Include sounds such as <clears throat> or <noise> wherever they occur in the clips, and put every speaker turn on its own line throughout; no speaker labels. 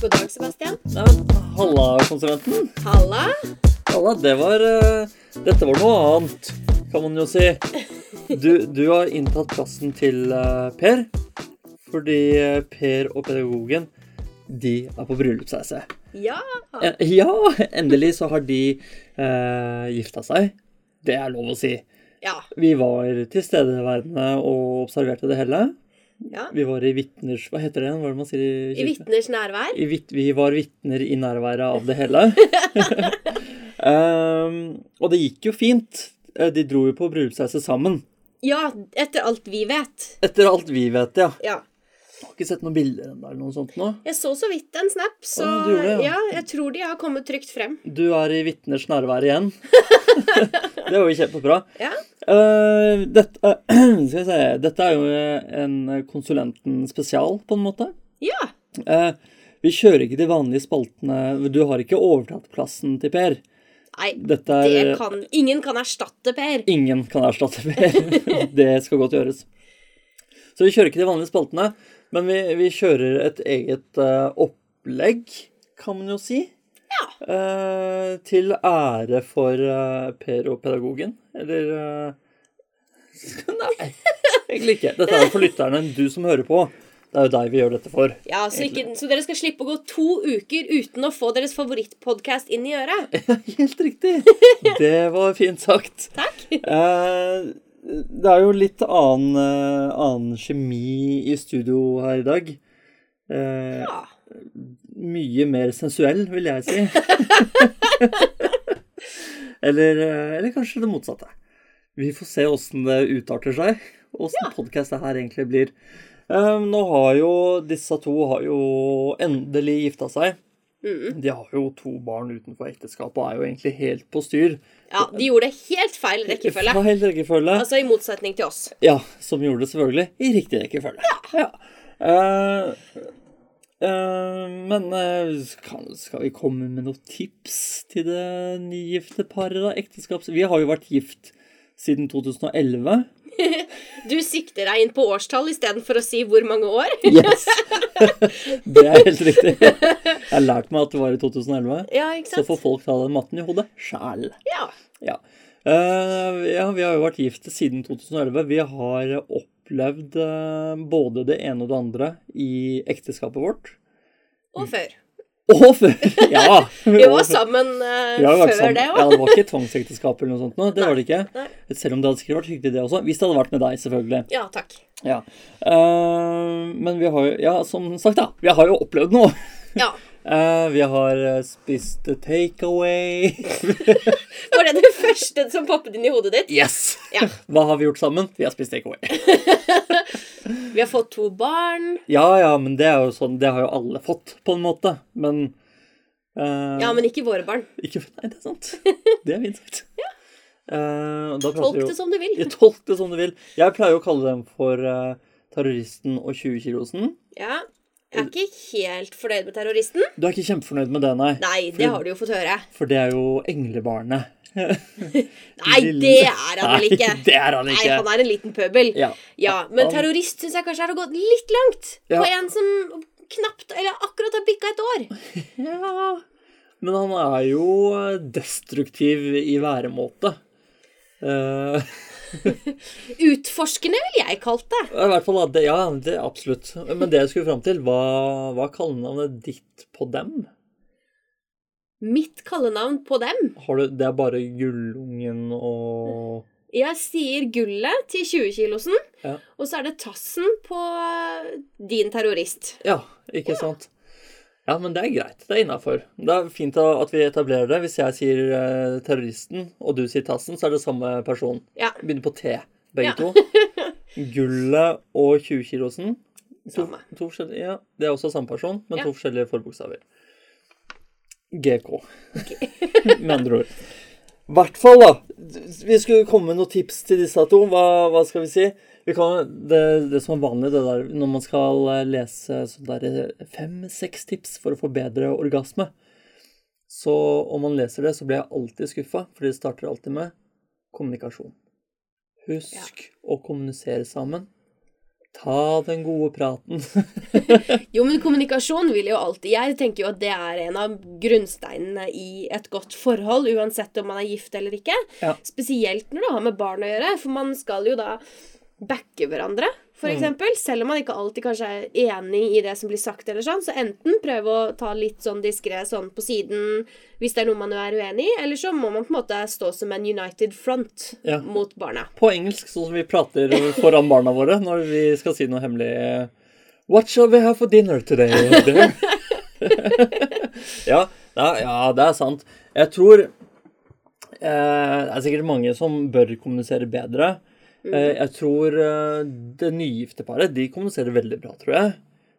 Sebastian.
Nei, Halla, konsulenten.
Halla.
Halla, det var eh, Dette var noe annet, kan man jo si. Du, du har inntatt plassen til eh, Per. Fordi eh, Per og pedagogen, de er på bryllupsreise.
Ja.
Eh, Ja, endelig så har de eh, gifta seg. Det er lov å si.
Ja.
Vi var tilstedeværende og observerte det hele.
ja.
Vi var i vitners... Hva heter det igjen? Hva er det man sier i
I
kirken?
vitners nærvær.
I vit, vi var vitner i nærværet av
<laughs>
det hele. Ehm, og det gikk jo fint. Eh, De dro jo på bryllupsreise sammen.
Ja, etter alt vi vet.
Etter alt vi vet, ja.
Ja.
Jeg har ikke sett noen bilder ennå eller noe sånt nå.
Jeg så så vidt en snap, så
Å, du gjorde det,
ja,
ja.
jeg tror de har kommet trygt frem.
Du er i vitners
<laughs>
nærvær igjen. det var jo kjempebra.
Ja.
Eh, <clears throat> dette, skal vi se, dette er jo en konsulenten spesial, på en måte.
Ja.
Eh, vi kjører ikke de vanlige spaltene. Du har ikke overtatt plassen til Per.
Nei,
Dette er
det kan Ingen kan erstatte Per.
Ingen kan erstatte <laughs> Per. Det skal godt gjøres. Så vi kjører ikke de vanlige spaltene, men vi, vi kjører et eget eh, opplegg, kan man jo si. Eh, til ære for eh, Per og pedagogen. Eller eh, <laughs> Nei, egentlig ikke. Dette er jo for lytterne, du som hører på. Det er jo deg vi gjør dette for.
Ja, så, ikke, så dere skal slippe å gå to uker uten å få deres favorittpodkast inn i øret.
Helt riktig. Det var fint sagt.
Takk.
Eh, det er jo litt annen, eh, annen kjemi i studio her i dag. Eh,
Ja.
Mye mer sensuell, vil jeg
<laughs>
si. eller, eh, eller kanskje det motsatte. Vi får se åssen det utarter seg, åssen podcast det her egentlig blir. Eh, nå har jo disse to har jo endelig gifta seg.
Mm.
De har jo to barn utenfor ekteskap og er jo egentlig helt på styr.
ja. De gjorde helt feil rekkefølge.
Feil rekkefølge.
Altså i motsetning til oss.
Ja, som gjorde det selvfølgelig i riktig rekkefølge. Ja. Eh, eh, men eh, skal, skal vi komme med noen tips til det nygifte paret? da? Ekteskaps... Vi har jo vært gift siden 2011.
Du sikter deg inn på årstall istedenfor å si hvor mange år.
Yes! det er helt riktig. Jeg har lært meg at det var i 2011.
Ja, ikke
Så
sant?
får folk ta den matten i hodet sjæl.
Ja.
Ja. Eh, ja, vi har jo vært gift siden 2011. Vi har opplevd eh, både det ene og det andre i ekteskapet vårt.
Og før.
Og før! Ja!
<laughs> Vi var
og før.
sammen eh,
Vi har jo vært
før
sammen.
det
Ja,
òg.
det var ikke tvangsekteskap eller noe sånt. nå, Det var det ikke.
Nei.
Selv om det hadde sikkert vært hyggelig, det også. Hvis det hadde vært med deg, selvfølgelig.
Ja, takk.
Ja. Eh, men vi har jo Ja, som sagt, da. Vi har jo opplevd noe.
Ja.
Eh, vi har eh, spist
<laughs>
takeaway.
<laughs> Var det det første som poppet inn i hodet ditt?
Yes!
Ja.
Hva har vi gjort sammen? Vi har spist takeaway.
Vi har fått to barn.
Ja, ja, men det er jo sånn Det har jo alle fått, på en måte. Men eh,
Ja, men ikke våre barn.
ikke Nei, det er sant. Det er fint sagt. ja. da
Tolk
prater vi
det
jo
som du vil.
Ja, Tolk det som du vil. Jeg pleier jo å kalle dem for eh, terroristen og 20-kilosen.
<laughs> Ja. Jeg er ikke helt fornøyd med terroristen.
Du er ikke kjempefornøyd med det, nei?
Nei, det har du jo fått høre.
For det er jo englebarnet.
Nei, det er han vel ikke.
Nei, <laughs> det er han
Nei,
ikke.
han er en liten pøbel.
Ja.
Ja, men terrorist syns jeg kanskje er å gå litt langt
Ja.
på en som knapt Eller akkurat har bikka et år.
ja. Men han er jo eh, destruktiv i væremåte. Eh, <laughs>
Utforskende ville jeg kalt det.
Ja, I hvert fall, da, det, ja, det, absolutt. Men det jeg skulle fram til, hva, hva er kallenavnet ditt på dem?
Mitt kallenavn på dem.
Har du, det er bare Gullungen og
Jeg sier gullet til 20-kilosen,
Ja.
og så er det tassen på din terrorist.
Ja, ikke sant? Ja, men det er greit. Det er innafor. Det er fint da at vi etablerer det. Hvis jeg sier eh, terroristen, og du sier Tassen, så er det samme person.
Ja.
Begynner på T, begge
Ja. <laughs>
to. Gullet og 20-kilosen. To,
Samme.
to forskjellige- ja, det er også samme person, men
Ja.
to forskjellige forbokstaver. GK, <laughs> med andre ord. I hvert fall, da. Vi skulle komme med noen tips til disse to. Hva, hva skal vi si? Vi kan, det, det som er vanlig det der, når man skal eh, lese eh, fem-seks tips for å få bedre orgasme Så om man leser det, så blir jeg alltid skuffa, for det starter alltid med kommunikasjon. Husk å kommunisere sammen. Ta den gode praten.
Jo, men kommunikasjon vil jo alltid Jeg tenker jo at det er en av grunnsteinene i et godt forhold, uansett om man er gift eller ikke.
Ja.
Spesielt når det har med barn å gjøre, for man skal jo da backe hverandre, for
Mm.
eksempel. Selv om man ikke alltid kanskje er enig i det som blir sagt, eller sånn, så enten prøve å ta litt sånn diskré sånn på siden hvis det er noe man jo er uenig i, eller så må man på en måte stå som en united front
Ja.
mot barna.
På engelsk, sånn som vi prater foran barna våre når vi skal si noe hemmelig. eh, What shall we have for dinner today? <laughs> dear?» ja, det er, ja, det er sant. Jeg tror eh, Det er sikkert mange som bør kommunisere bedre. Eh, jeg tror eh, det nygifte paret de kommuniserer veldig bra, tror jeg.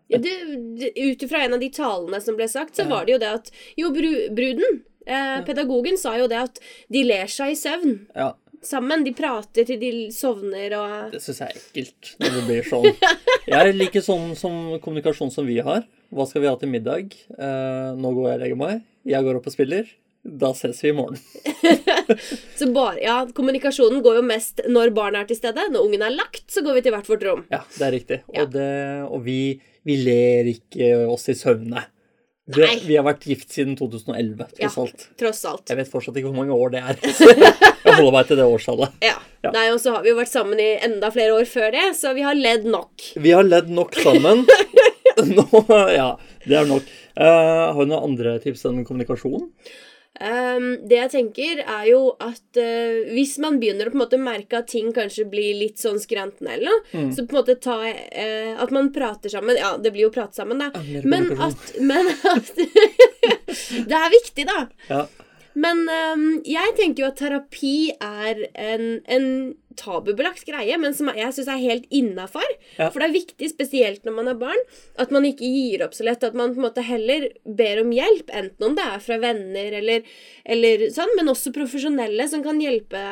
Ja, det, det, ut ifra en av de talene som ble sagt, så var det jo det at Jo, bru, bruden, eh, pedagogen, sa jo det at de ler seg i søvn
Ja,
sammen. De prater til de sovner og
Det syns jeg er ekkelt når det blir
<laughs>
sånn. Jeg liker sånn som kommunikasjon som vi har. Hva skal vi ha til middag? Eh, nå går jeg og legger meg. Jeg går opp og spiller. Da ses vi i morgen.
Så bare Ja, kommunikasjonen går jo mest når barna er til stede. Når ungen er lagt, så går vi til hvert vårt rom.
Ja, det er riktig.
Ja.
Og, det, og vi, vi ler ikke oss i søvne. Det,
Nei.
vi har vært gift siden 2011, tross
Ja.
alt.
Tross alt.
Jeg vet fortsatt ikke hvor mange år det
<laughs>
er. Jeg holder meg til det årstallet.
Ja.
Ja.
Nei, og så har vi jo vært sammen i enda flere år før det, så vi har ledd nok.
Vi har ledd nok
<laughs>
sammen. Nå, ja, det er nok. Eh, har du noen andre tips enn kommunikasjon?
Ehm, det jeg tenker, er jo at eh, hvis man begynner å på en måte merke at ting kanskje blir litt sånn skrantende eller noe, så på en måte ta eh, At man prater sammen. Ja, det blir jo prat sammen, da.
mer
Men
kommunikasjon.
at, men at <laughs> Det er viktig, da.
Ja.
Men ehm, jeg tenker jo at terapi er en, en tabubelagt greie, men som jeg syns er helt innafor.
Ja.
For det er viktig, spesielt når man er barn, at man ikke gir opp så lett. At man på en måte heller ber om hjelp, enten om det er fra venner eller, eller sånn, men også profesjonelle som kan hjelpe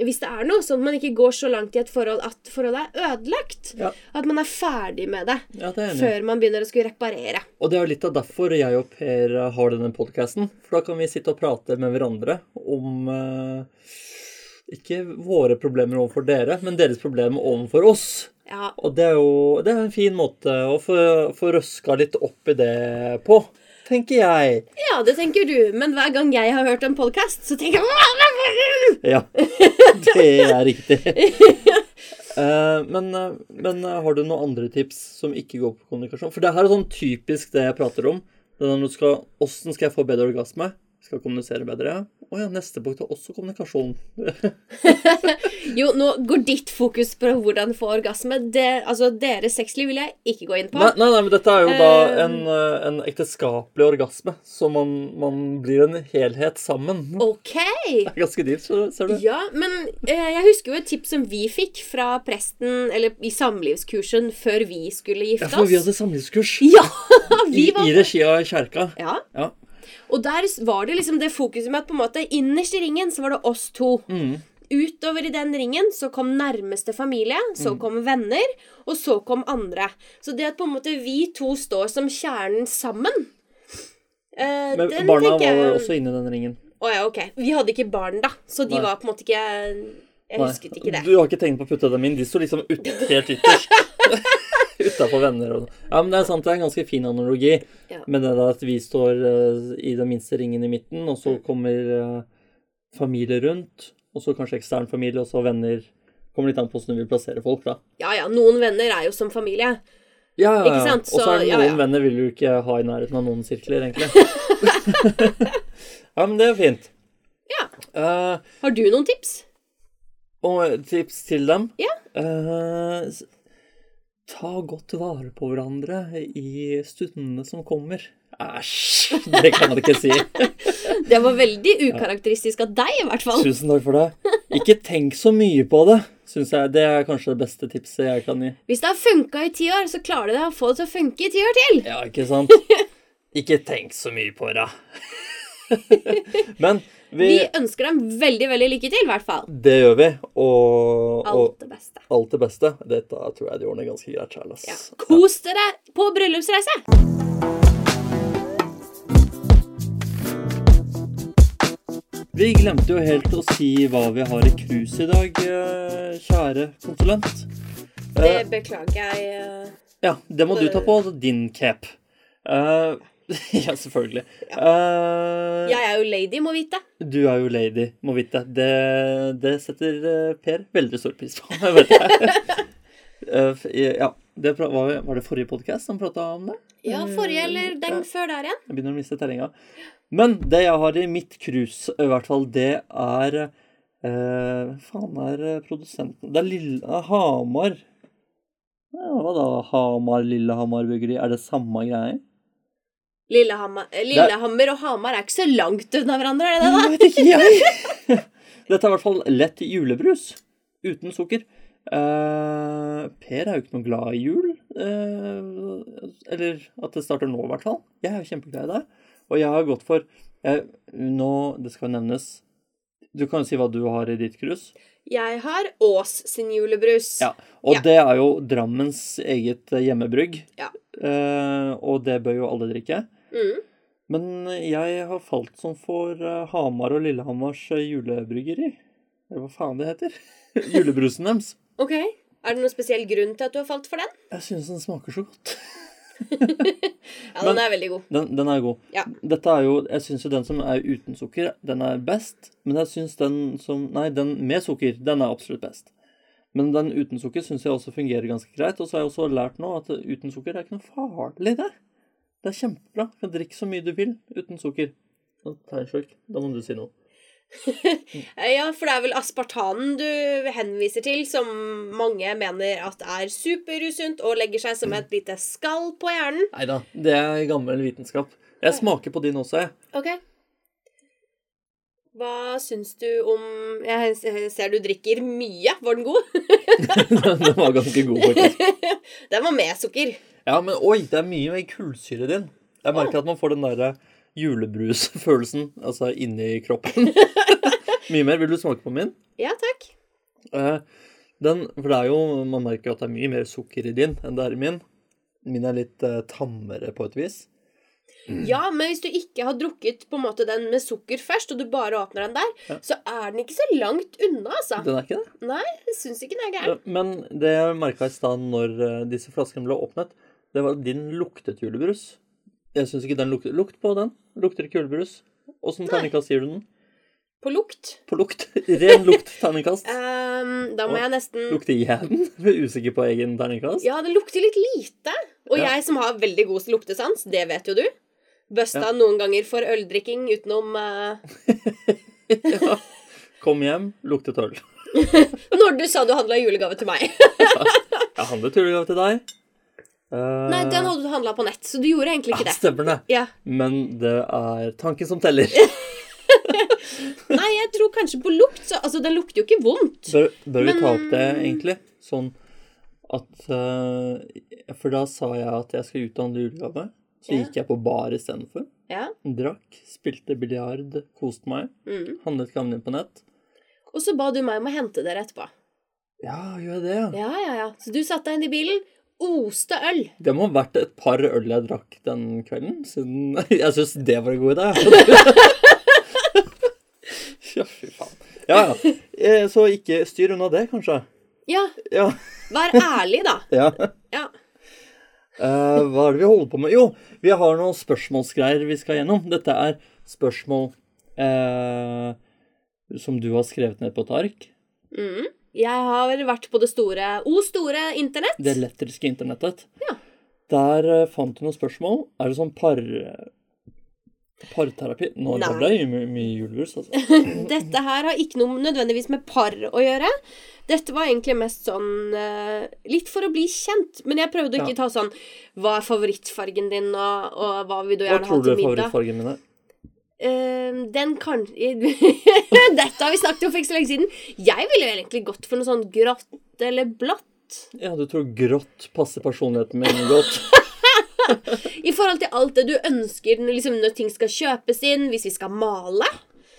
hvis det er noe. Sånn at man ikke går så langt i et forhold at forholdet er ødelagt.
Ja.
At man er ferdig med det
Ja, det er jeg enig i.
før man begynner å skulle reparere.
Og det er jo litt av derfor jeg og Per har denne podkasten. For da kan vi sitte og prate med hverandre om eh, Ikke våre problemer overfor dere, men deres problemer overfor oss.
Ja,
Og det er jo det er en fin måte å få, få røska litt opp i det på, tenker jeg.
Ja, det tenker du, men hver gang jeg har hørt en podkast, så tenker jeg <laughs>
Ja, det er riktig. Eh, men, eh, men eh, har du noen andre tips som ikke går på kommunikasjon? For det her er sånn typisk det jeg prater om. Det er når du skal, Åssen skal jeg få bedre orgasme? Skal kommunisere bedre? Å ja, neste punkt er også kommunikasjon.
Jo, nå går ditt fokus på hvordan få orgasme. Det, altså, Deres sexliv vil jeg ikke gå inn på.
Nei, nei, nei, men dette er jo da
Eh.
en, eh, en ekteskapelig orgasme. Så man, man blir en helhet sammen. Det
Ok!
er ganske dypt, så- ser du.
Ja, men eh, jeg husker jo et tips som vi fikk fra presten, eller i samlivskursen, før vi skulle
Ja,
gifte
for vi
oss.
hadde samlivskurs
Ja, <laughs>
i,
vi
i
var
regi av kjerka.
ja.
Ja.
Og der var det liksom det fokuset med at på en måte innerst i ringen så var det oss to.
Mm.
Utover i den ringen så kom nærmeste familie, så
Mm.
kom venner, og så kom andre. Så det at på en måte vi to står som kjernen sammen eh,
Men
den
barna
tenker
var
jeg-
vel også inne i den ringen.
Å ja, ok. Vi hadde ikke barn, da, så de
Nei.
var på en måte ikke Jeg
Nei.
husket ikke det.
Du har ikke tenkt på å putte dem inn. De står liksom ut, helt ytterst. <laughs> Utafor venner og sånn. Ja, men det er sant, det er en ganske fin analogi.
Ja.
Med det der at vi står eh, i den minste ringen i midten, og
Mm.
så kommer eh, familie rundt. Og så kanskje ekstern familie, og så venner. Kommer litt an på hvordan du vil plassere folk, da.
Ja ja, noen venner er jo som familie.
Ja, ja,
Ikke
ja.
sant?
Og så er det
Så- ja,
noen
ja.
venner vil du ikke ha i nærheten av noen sirkler, egentlig.
<laughs>
<laughs> ja, men det er fint.
Ja.
Eh,
Har du noen tips?
Og tips til dem?
Ja.
Eh, s- ta godt vare på hverandre i stundene som kommer. Æsj! Det kan man ikke
<laughs>
si.
Det var veldig ukarakteristisk av deg, i hvert fall.
Tusen takk for det. Ikke tenk så mye på det, syns jeg. Det er kanskje det beste tipset jeg kan gi.
Hvis det har funka i ti år, så klarer du det å få det til å funke i ti år til.
Ja,
<laughs>
ikke sant? Ikke tenk så mye på det. Men
Vi
vi
ønsker dem veldig, veldig lykke til, i hvert fall.
Det gjør vi. Og, og
Alt det beste.
alt det beste. Dette tror jeg de ordner ganske greit sjøl, ass.
Ja. Kos dere på bryllupsreise!
Vi glemte jo helt å si hva vi har i krus i dag, eh, kjære konsulent.
Det
Eh,
beklager jeg. eh.
ja, det må du ta på. altså Din cap. Eh, <laughs> ja, selvfølgelig. Eh,
Jeg er jo lady, må vite.
Du er jo lady, må vite. Det, det setter eh, Per veldig stor pris på, <laughs> vet jeg. Eh, f- ja, det pra- var, var det forrige podkast som prata om det?
Ja, forrige eller den før der igjen.
Jeg begynner å miste tellinga. Men det jeg har i mitt krus, i hvert fall, det er eh, Hva faen er eh, produsenten Det er Lille eh, Hamar. Ja, hva da? Hamar, Lillehamar bryggeri? Er det samme greie?
Lillehammer, eh, Lillehammer og Hamar er ikke så langt unna hverandre, er det det? da?
Jeg vet ikke, jeg. <laughs> Dette er i hvert fall lett julebrus uten sukker. Eh, per er jo ikke noe glad i jul. eh, eller at det starter nå, i hvert fall. Jeg er jo kjempeglad i det. Og jeg har gått for jeg, Nå, det skal nevnes Du kan jo si hva du har i ditt krus.
Jeg har Ås sin julebrus.
Ja, Og
Ja.
det er jo Drammens eget hjemmebrygg.
Ja.
Eh, og det bør jo alle drikke.
Mm.
Men jeg har falt som for eh, Hamar og Lillehammers eh, julebryggeri. Eller hva faen det heter. <laughs> Julebrusen deres.
Ok. Er det noen spesiell grunn til at du har falt for den?
Jeg synes den smaker så godt.
Ja,
Men-
den er veldig god.
Den, den er god.
Ja.
Dette er jo, jeg syns jo den som er uten sukker, den er best. Men jeg syns den som Nei, den med sukker, den er absolutt best. Men den uten sukker syns jeg også fungerer ganske greit. Og så har jeg også lært nå at uten sukker er ikke noe farlig, det. Det er kjempebra. Du kan drikke så mye du vil uten sukker. Nå tar jeg en slurk. Da må du si noe.
Eh, Ja, for det er vel aspartanen du henviser til, som mange mener at er superusunt og legger seg
Mm.
som et lite skall på hjernen.
Nei da, det er gammel vitenskap. Jeg smaker på din også, jeg. <laughs>
Ok. Hva syns du om Jeg s- ser du drikker mye. Var den god?
Den var ganske god, faktisk.
<laughs> Den var med sukker.
Ja, men oi, det er mye mer kullsyre i din. Jeg merker at man får den derre julebrusfølelsen, <laughs> altså inni kroppen. Mye mer. Vil du smake på min?
Ja, takk.
Eh, Den, for det er jo, man merker jo at det er mye mer sukker i din enn det er i min. Min er litt eh, tammere på et vis.
Ja, men hvis du ikke har drukket på en måte den med sukker først, og du bare åpner den der, så er den ikke så langt unna, altså.
Den er ikke det.
Nei, jeg syns ikke den er
Ja,
gæren.
Men det jeg merka i stad når eh, disse flaskene ble åpnet, det var at din luktet julebrus. Jeg syns ikke den lukter Lukt på den. Lukter ikke julebrus. Åssen terningkast gir du den?
På lukt
På lukt. <laughs> Ren lukt terningkast.
ehm, Da må
Å,
jeg nesten
Lukter jeg <laughs> den? Jeg er Usikker på egen terningkast?
Ja, det lukter litt lite. Og
Ja.
jeg som har veldig god luktesans, det vet jo du. Busta noen ganger for øldrikking utenom eh,
Ja. Kom hjem, luktet øl.
Når du sa du handla julegave til meg.
Jeg handlet julegave til deg. Eh,
Nei, den hadde du handla på nett, så du gjorde egentlig ikke
ah,
det.
Stemmer det.
Ja.
Men det er tanken som teller.
Nei, jeg tror kanskje på lukt, så Altså, den lukter jo ikke vondt.
Bør, bør vi ta opp
Men-
det, egentlig? Sånn at eh, For da sa jeg at jeg skal ut og handle julegave. Så
Ja.
gikk jeg på bar istedenfor.
Ja.
Drakk, spilte biljard, koste meg.
Mm.
Handlet gamle på nett.
Og så ba du meg om å hente dere etterpå.
Ja, gjør jeg det, ja.
Ja, ja, ja. Så du satte deg inn i bilen, oste øl.
Det må ha vært et par øl jeg drakk den kvelden, siden <laughs> jeg syns det var en god idé. ja, fy faen. Ja, ja. Eh, Så ikke styr unna det, kanskje.
Ja,
Ja.
vær ærlig, da.
ja.
Ja.
Eh, hva er det vi holder på med? Jo, vi har noen spørsmålsgreier vi skal gjennom. Dette er spørsmål eh, som du har skrevet ned på et ark.
Mm. Jeg har vært på det store O store internett.
Det elektriske internettet.
Ja.
Der eh, fant du noen spørsmål. Er det sånn par... Parterapi? Nå det
Nei.
ble det mye, mye julebrus,
<laughs>
altså.
Dette her har ikke noe nødvendigvis med par å gjøre. Dette var egentlig mest sånn eh, Litt for å bli kjent. Men jeg prøvde å ikke ta sånn Hva er favorittfargen din, og, og hva vil du
Hva
gjerne ha
tror du
til
er
middag?
favorittfargen min? er?
Eh, den kan <laughs> Dette har vi snakket om for ikke så lenge siden. Jeg ville jo egentlig gått for noe sånn grått eller blått.
Ja, du tror grått passer personligheten min godt.
<laughs> I forhold til alt det du ønsker når liksom, når ting skal kjøpes inn, hvis vi skal male,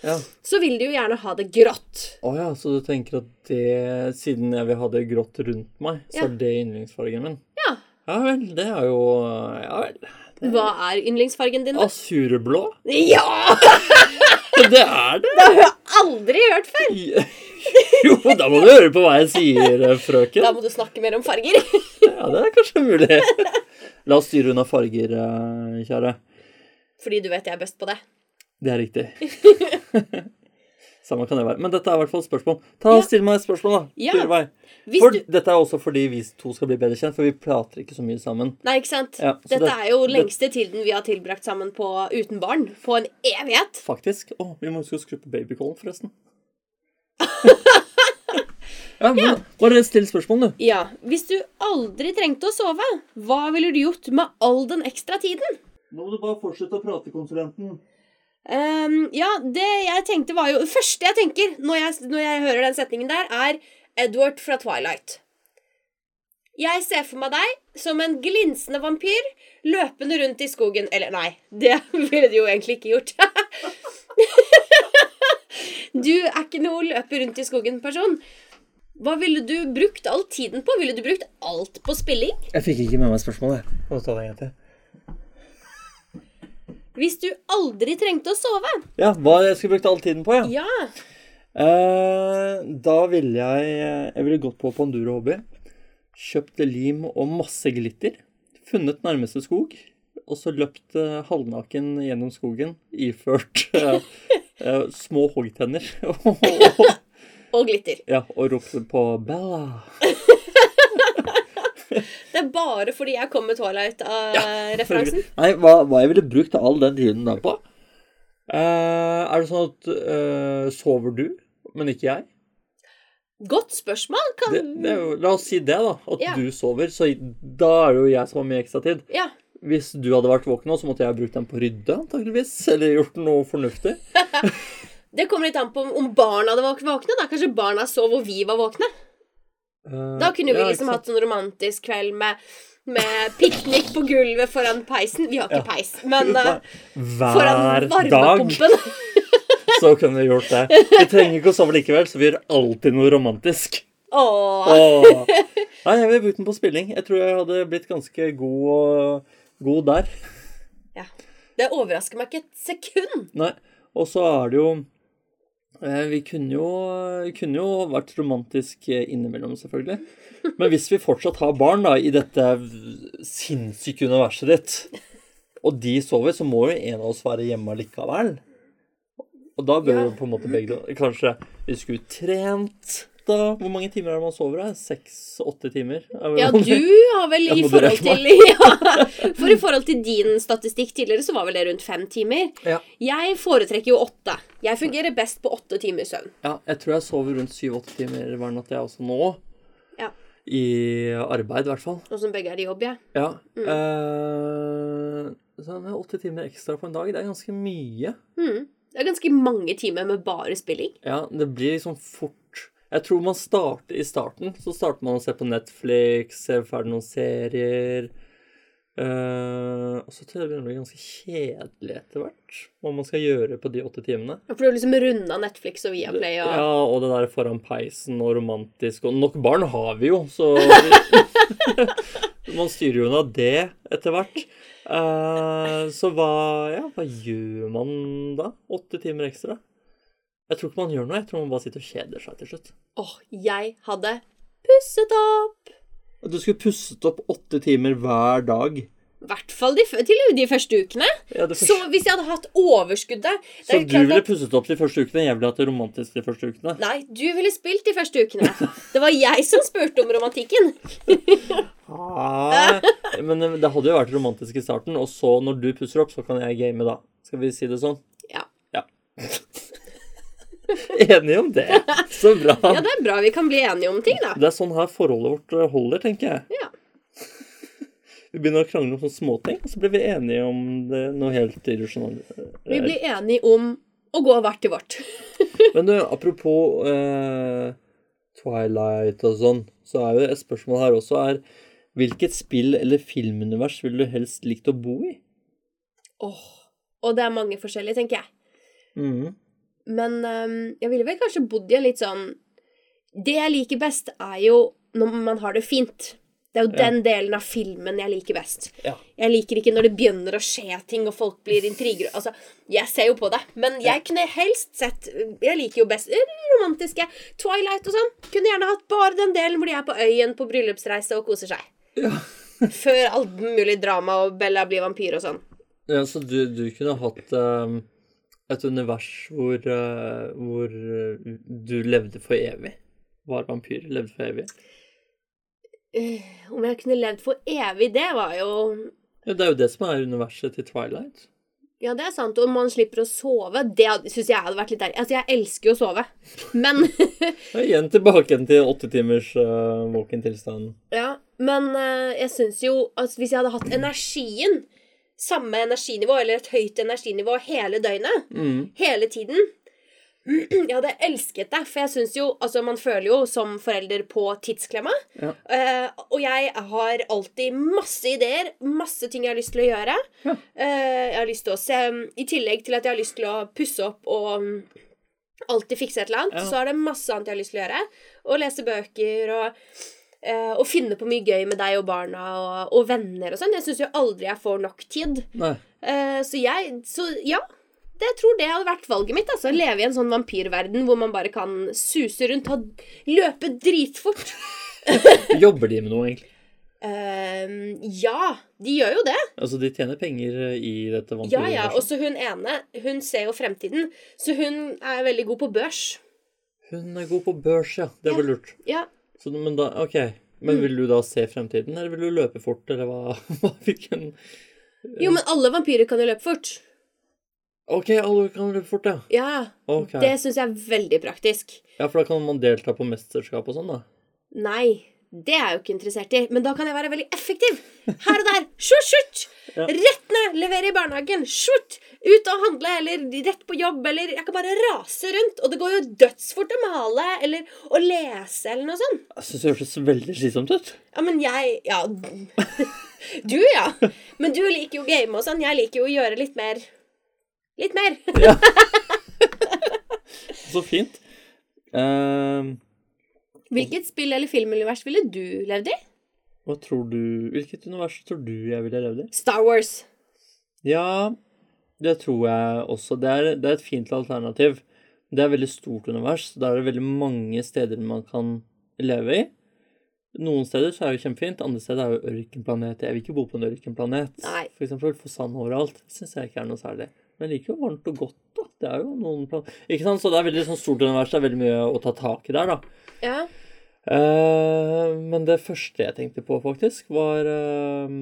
Ja.
så vil du jo gjerne ha det grått.
Å ja, så du tenker at det, siden jeg vil ha det grått rundt meg, så
Ja.
er det yndlingsfargen min?
Ja.
Ja vel, det er jo Ja vel.
Hva er yndlingsfargen din? da?
Asurblå? <laughs>
Ja! <laughs>
Det er det!
Det har jeg aldri hørt før!
<laughs> Jo, da må du høre på hva jeg sier, eh, frøken.
Da må du snakke mer om farger. <laughs>
Ja, det er kanskje mulig. <laughs> La oss styre unna farger, eh, kjære.
Fordi du vet jeg er best på det.
Det er riktig. <laughs> Samme kan det være. Men dette er i hvert fall et spørsmål. Ta og
Ja.
Still meg et spørsmål, da.
Ja.
Styr meg.
Hvis
For
du
Dette er også fordi vi to skal bli bedre kjent, for vi prater ikke så mye sammen.
Nei, ikke sant?
Ja, så
Dette
det-
er jo
det-
lengste tiden vi har tilbrakt sammen på uten barn. På en evighet.
Faktisk. Å, vi må huske å skru på babycallen, <laughs> forresten. ja, men Bare still spørsmål, du.
Ja. Hvis du aldri trengte å sove, hva ville du gjort med all den ekstra tiden?
Nå må du bare fortsette å prate, konsulenten.
Ehm, ja, det jeg tenkte var jo Det første jeg tenker når jeg, når jeg hører den setningen der, er Edward fra Twilight. Jeg ser for meg deg som en glinsende vampyr løpende rundt i skogen Eller nei, det <laughs> ville du jo egentlig ikke gjort. <laughs> du er ikke noe løpe rundt i skogen-person. Hva ville du brukt all tiden på? Ville du brukt alt på spilling?
Jeg fikk ikke med meg spørsmålet. jeg. Kan du ta det en gang til?
Hvis du aldri trengte å sove?
Ja, hva jeg skulle brukt all tiden på, ja.
Ja.
Eh, da ville jeg eh, Jeg ville gått på Panduro Hobby. Kjøpt lim og masse glitter. Funnet nærmeste skog. Og så løpt eh, halvnaken gjennom skogen iført <laughs> eh, eh, små hoggtenner. <laughs> og,
Og glitter.
ja, og ropt på 'Bella'.
Det er bare fordi jeg kom med eh, Twilight-referansen.
Nei, hva, hva jeg ville brukt all den tiden der på? Eh, er det sånn at eh, Sover du, men ikke jeg?
Godt spørsmål. Kan...
Det, det er jo, la oss si det, da. At
Ja.
du sover. Så da er det jo jeg som har mye ekstra tid.
Ja.
Hvis du hadde vært våken nå, så måtte jeg ha brukt den på å rydde, antageligvis. Eller gjort noe fornuftig.
Det kommer litt an på om- om barna hadde vært våkne. da. Kanskje barna sov og vi var våkne. Da
Eh,
kunne vi liksom hatt sånn romantisk kveld med, med piknik på gulvet foran peisen. Vi har ikke peis, men eh,
Hver
foran
dag
varmepumpen.
så kunne vi gjort det. Vi trenger ikke å sove likevel, så vi gjør alltid noe romantisk.
Åh.
Åh. Nei, jeg ville brukt den på spilling. Jeg tror jeg hadde blitt ganske god, og- god der.
Ja. Det overrasker meg ikke et sekund.
Nei, og så er det jo eh, Vi kunne jo, kunne jo vært romantisk eh, innimellom, selvfølgelig. Men hvis vi fortsatt har barn da, i dette v- sinnssyke universet ditt, og de sover, så må jo en av oss være hjemme likevel. Og da bør
Ja.
jo på en måte begge to- Kanskje vi skulle trent da? Hvor mange timer er det man sover? Seks-åtte timer? Er vel
Ja,
vanlig.
du har vel
Jeg
i
må
forhold
berette
til <laughs> ja. For i forhold til din statistikk tidligere, så var vel det rundt fem timer.
Ja.
Jeg foretrekker jo åtte. Jeg fungerer best på åtte timer søvn.
Ja, jeg tror jeg sover rundt syv-åtte timer hver natt, jeg også nå.
Ja.
I arbeid, i hvert fall.
Nå som begge er i jobb, jeg.
Ja. Eh, så med åtte timer ekstra på en dag, det er ganske mye.
Mm. Det er ganske mange timer med bare spilling.
Ja, det blir liksom fort Jeg tror man starter i starten. Så starter man å se på Netflix, ser ferdig noen serier. Eh, og så tror jeg det begynner å bli ganske kjedelig etter hvert. Hva man skal gjøre på de åtte timene.
For du har liksom runda Netflix og Viaplay og
Ja, og det der foran peisen og romantisk Og nok barn har vi jo,
<laughs>
så vi- <laughs> Man styrer jo unna det etter hvert. Eh, så hva, ja, hva gjør man da? Åtte timer ekstra? Jeg tror ikke man gjør noe. Jeg tror man bare sitter og kjeder seg til slutt.
Åh, jeg hadde pusset opp!
Du skulle pusset opp åtte timer hver dag.
I hvert fall de, f- til de første ukene.
Ja, det
Så
første,
hvis jeg hadde hatt overskuddet det er
så
jo
du
klart
ville
at-
pusset opp de første ukene? Jeg ville hatt det romantisk de første ukene.
Nei, du ville spilt de første ukene. Det var jeg som spurte om romantikken.
Ah, men det hadde jo vært romantisk i starten, og så når du pusser opp, så kan jeg game, da. Skal vi si det sånn?
Ja.
ja. <laughs> Enige om det. Så bra.
Ja, det er bra vi kan bli enige om ting, da.
Det er sånn her forholdet vårt holder, tenker jeg.
Ja.
<laughs> Vi begynner å krangle om sånne småting, og så blir vi enige om det, noe helt irrasjonelt.
Vi blir enige om å gå hvert til vårt.
Men du, apropos eh, Twilight og sånn, så er jo et spørsmål her også er Hvilket spill eller filmunivers ville du helst likt å bo i?
Åh, Og det er mange forskjellige, tenker jeg.
Mhm.
Men ehm, jeg ville vel kanskje bodd i en litt sånn Det jeg liker best, er jo når man har det fint. Det er jo den delen av filmen jeg liker best.
Ja.
Jeg liker ikke når det begynner å skje ting, og folk blir intriger. Altså, jeg ser jo på det, men jeg kunne helst sett Jeg liker jo best eh, romantiske Twilight og sånn. Kunne gjerne hatt bare den delen hvor de er på øyen på bryllupsreise og koser seg. <laughs> Før alt mulig drama og Bella blir vampyr og sånn.
Ja, så du, du kunne hatt ehm, et univers hvor, eh, hvor eh, du levde for evig. Var vampyr, levde for evig.
Om jeg kunne levd for evig, det var jo
Ja, det er jo det som er universet til Twilight.
Ja, det er sant. Og man slipper å sove. Det syns jeg hadde vært litt deilig. Altså, jeg elsker jo å sove, men <laughs>
Ja, igjen tilbake igjen til åtte timers uh, våken-tilstand.
Ja, men eh, jeg syns jo at hvis jeg hadde hatt energien, samme energinivå, eller et høyt energinivå hele døgnet, hele tiden <clears throat> Jeg hadde elsket det, for jeg syns jo Altså, man føler jo som forelder på tidsklemma.
Ja.
eh, og jeg har alltid masse ideer, masse ting jeg har lyst til å gjøre. Eh, jeg har lyst til å se I tillegg til at jeg har lyst til å pusse opp og mm, alltid fikse et eller annet,
Ja.
så er det masse annet jeg har lyst til å gjøre. Å lese bøker og eh, og finne på mye gøy med deg og barna og, og venner og sånn. Jeg syns jo aldri jeg får nok tid.
Nei.
Eh, så jeg Så ja. Det jeg tror det hadde vært valget mitt. altså Leve i en sånn vampyrverden hvor man bare kan suse rundt og løpe dritfort.
Jobber de med noe, egentlig?
Eh, ja, de gjør jo det.
Altså, de tjener penger eh, i dette
Ja, ja. Og
vampyruniverset.
så hun ene, hun ser jo fremtiden. Så hun er veldig god på børs.
Hun er god på børs, ja. Det var lurt.
Ja. Mm.
Så, men da, ok. Men vil du da se fremtiden, eller vil du løpe fort, eller hva? <laughs> hva hvilken...
Jo, men alle vampyrer kan jo løpe fort.
Ok, alle kan løpe fort, ja.
Ja.
Ok.
Det syns jeg er veldig praktisk.
Ja, for da kan man delta på mesterskap og sånn, da.
Nei, det er jeg jo ikke interessert i. Men da kan jeg være veldig effektiv. Her og der. Skjort, <laughs> skjort.
Ja.
Rett ned. Levere i barnehagen. Skjort. Ut og handle, eller rett på jobb, eller Jeg kan bare rase rundt. Og det går jo dødsfort å male, eller å lese, eller noe sånt.
Jeg syns det hørtes veldig slitsomt ut.
Ja, men jeg Ja. <laughs> Du, ja. Men du liker jo game og sånn. Jeg liker jo å gjøre litt mer. Litt mer.
Så fint. Ehm,
<laughs> Hvilket spill- eller filmunivers ville du levd i?
hva tror du Hvilket univers tror du jeg ville levd i?
Star Wars.
Ja, det tror jeg også. Det er, det er et fint alternativ. Det er et veldig stort univers. så Da er det veldig mange steder man kan leve i. Noen steder så er det jo kjempefint, andre steder er det jo ørkenplanet. Jeg vil ikke bo på en ørkenplanet.
Nei.
For eksempel for sand overalt. Det syns jeg ikke er noe særlig. Men jeg liker jo varmt og godt, da. Det er jo noen plan... Ikke sant? Så det er veldig sånn stort univers. Det er veldig mye å ta tak i der, da.
Ja.
Eh, men det første jeg tenkte på, faktisk, var eh,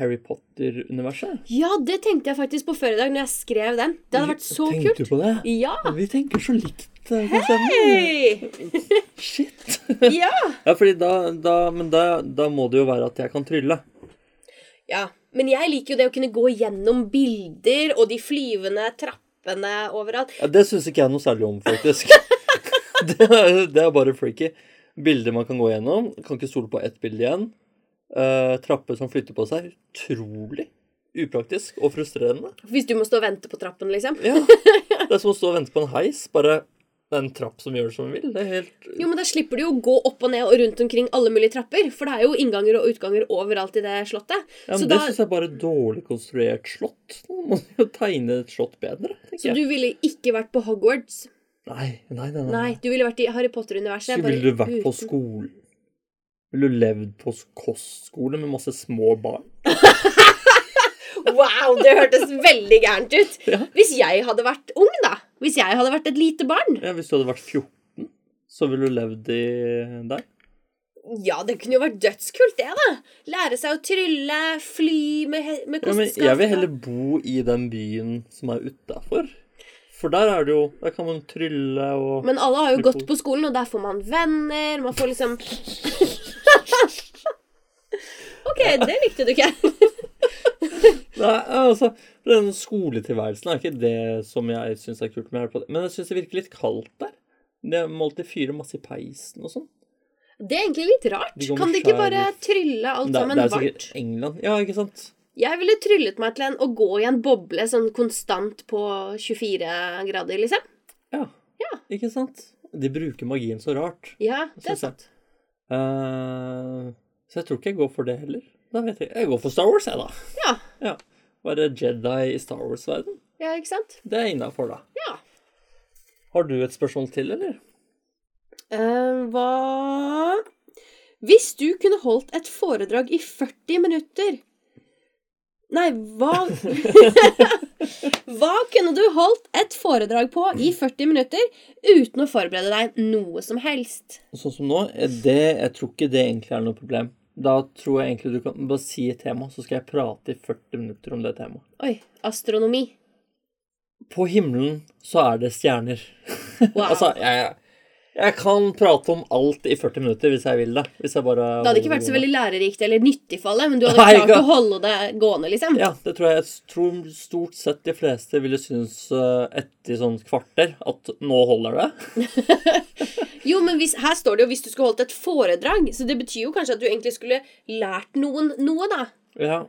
Harry Potter-universet.
ja, det tenkte jeg faktisk på før i dag når jeg skrev den. Det hadde vært så
Tenkte
kult.
du på det?
Ja.
Vi tenker så likt. eh, Konstantin.
Hei!
Shit. <laughs>
Ja.
ja, fordi da, da Men da, da må det jo være at jeg kan trylle.
ja. Men jeg liker jo det å kunne gå gjennom bilder og de flyvende trappene overalt.
Ja, det syns ikke jeg noe særlig om, faktisk. <laughs> det, er, det er bare freaky. Bilder man kan gå gjennom. Kan ikke stole på ett bilde igjen. Eh, trapper som flytter på seg. Utrolig upraktisk og frustrerende.
Hvis du må stå og vente på trappen, liksom.
Ja. Det er som å stå og vente på en heis. Bare det er en trapp som gjør det som den vil. Det er helt
Jo, men da slipper du jo å gå opp og ned og rundt omkring alle mulige trapper. For det er jo innganger og utganger overalt i det slottet.
ja,
så
men Det
da,
syns jeg bare er dårlig konstruert slott. Man må jo tegne et slott bedre. tenker
så
jeg.
du ville ikke vært på Hogwarts.
Nei, nei, nei. nei.
Nei, du ville vært i Harry Potter-universet.
Så
bare
Mm. ville du vært på
uten-
skolen? Ville du levd på kostskole med masse små barn?
Wow, det hørtes veldig gærent ut.
Ja.
Hvis jeg hadde vært ung, da. Hvis jeg hadde vært et lite barn.
Ja, Hvis du hadde vært 14, så ville du levd i der?
Ja, det kunne jo vært dødskult, det, da. Lære seg å trylle, fly med, he- med
Ja, men
kostskaft.
jeg vil heller bo i den byen som er utafor. For der er det jo Der kan man trylle og
Men alle har jo gått på skolen, og der får man venner. Man får liksom <laughs> OK, det likte du ikke.
Nei, altså, Den skoletilværelsen er ikke det som jeg syns er kult med Harry Potter. Men jeg syns det virker litt kaldt der. Det må alltid fyre masse i peisen og sånn.
Det er egentlig litt rart.
De går med
Kan de ikke
skjær
bare
luft.
trylle alt
Det, er- det
sammen
er
varmt?
sikkert England. Ja, ikke sant?
Jeg ville tryllet meg til en å gå i en boble sånn konstant på 24 grader, liksom.
Ja.
Ja.
Ikke sant? De bruker magien så rart.
Ja, det
Synes
er sant.
Eh, Så jeg tror ikke jeg går for det heller. Da vet jeg. jeg går for Star Wars, jeg, da.
Ja.
Ja. Være Jedi i Star Wars-verden.
Ja, ikke sant?
Det er innafor, da.
Ja.
Har du et spørsmål til, eller?
Eh, hva Hvis du kunne holdt et foredrag i 40 minutter Nei,
<laughs>
hva Hva kunne du holdt et foredrag på i 40 minutter uten å forberede deg noe som helst?
Sånn som nå, det, jeg tror ikke det egentlig er noe problem. Da tror jeg egentlig du kan bare si et tema, så skal jeg prate i 40 minutter om det temaet.
Oi. Astronomi.
På himmelen så er det stjerner.
Wow.
<laughs> altså, jeg, jeg kan prate om alt i 40 minutter hvis jeg vil det. Hvis jeg bare
Det hadde ikke vært så veldig lærerikt eller nyttig for alle, men du hadde
Nei,
klart
ikke-
å holde det gående, liksom.
Ja, det tror jeg. Jeg tror stort sett de fleste ville synes eh, etter sånn kvarter at nå holder det.
Jo, men hvis, her står det jo 'hvis du skulle holdt et foredrag', så det betyr jo kanskje at du egentlig skulle lært noen noe, da.
Ja,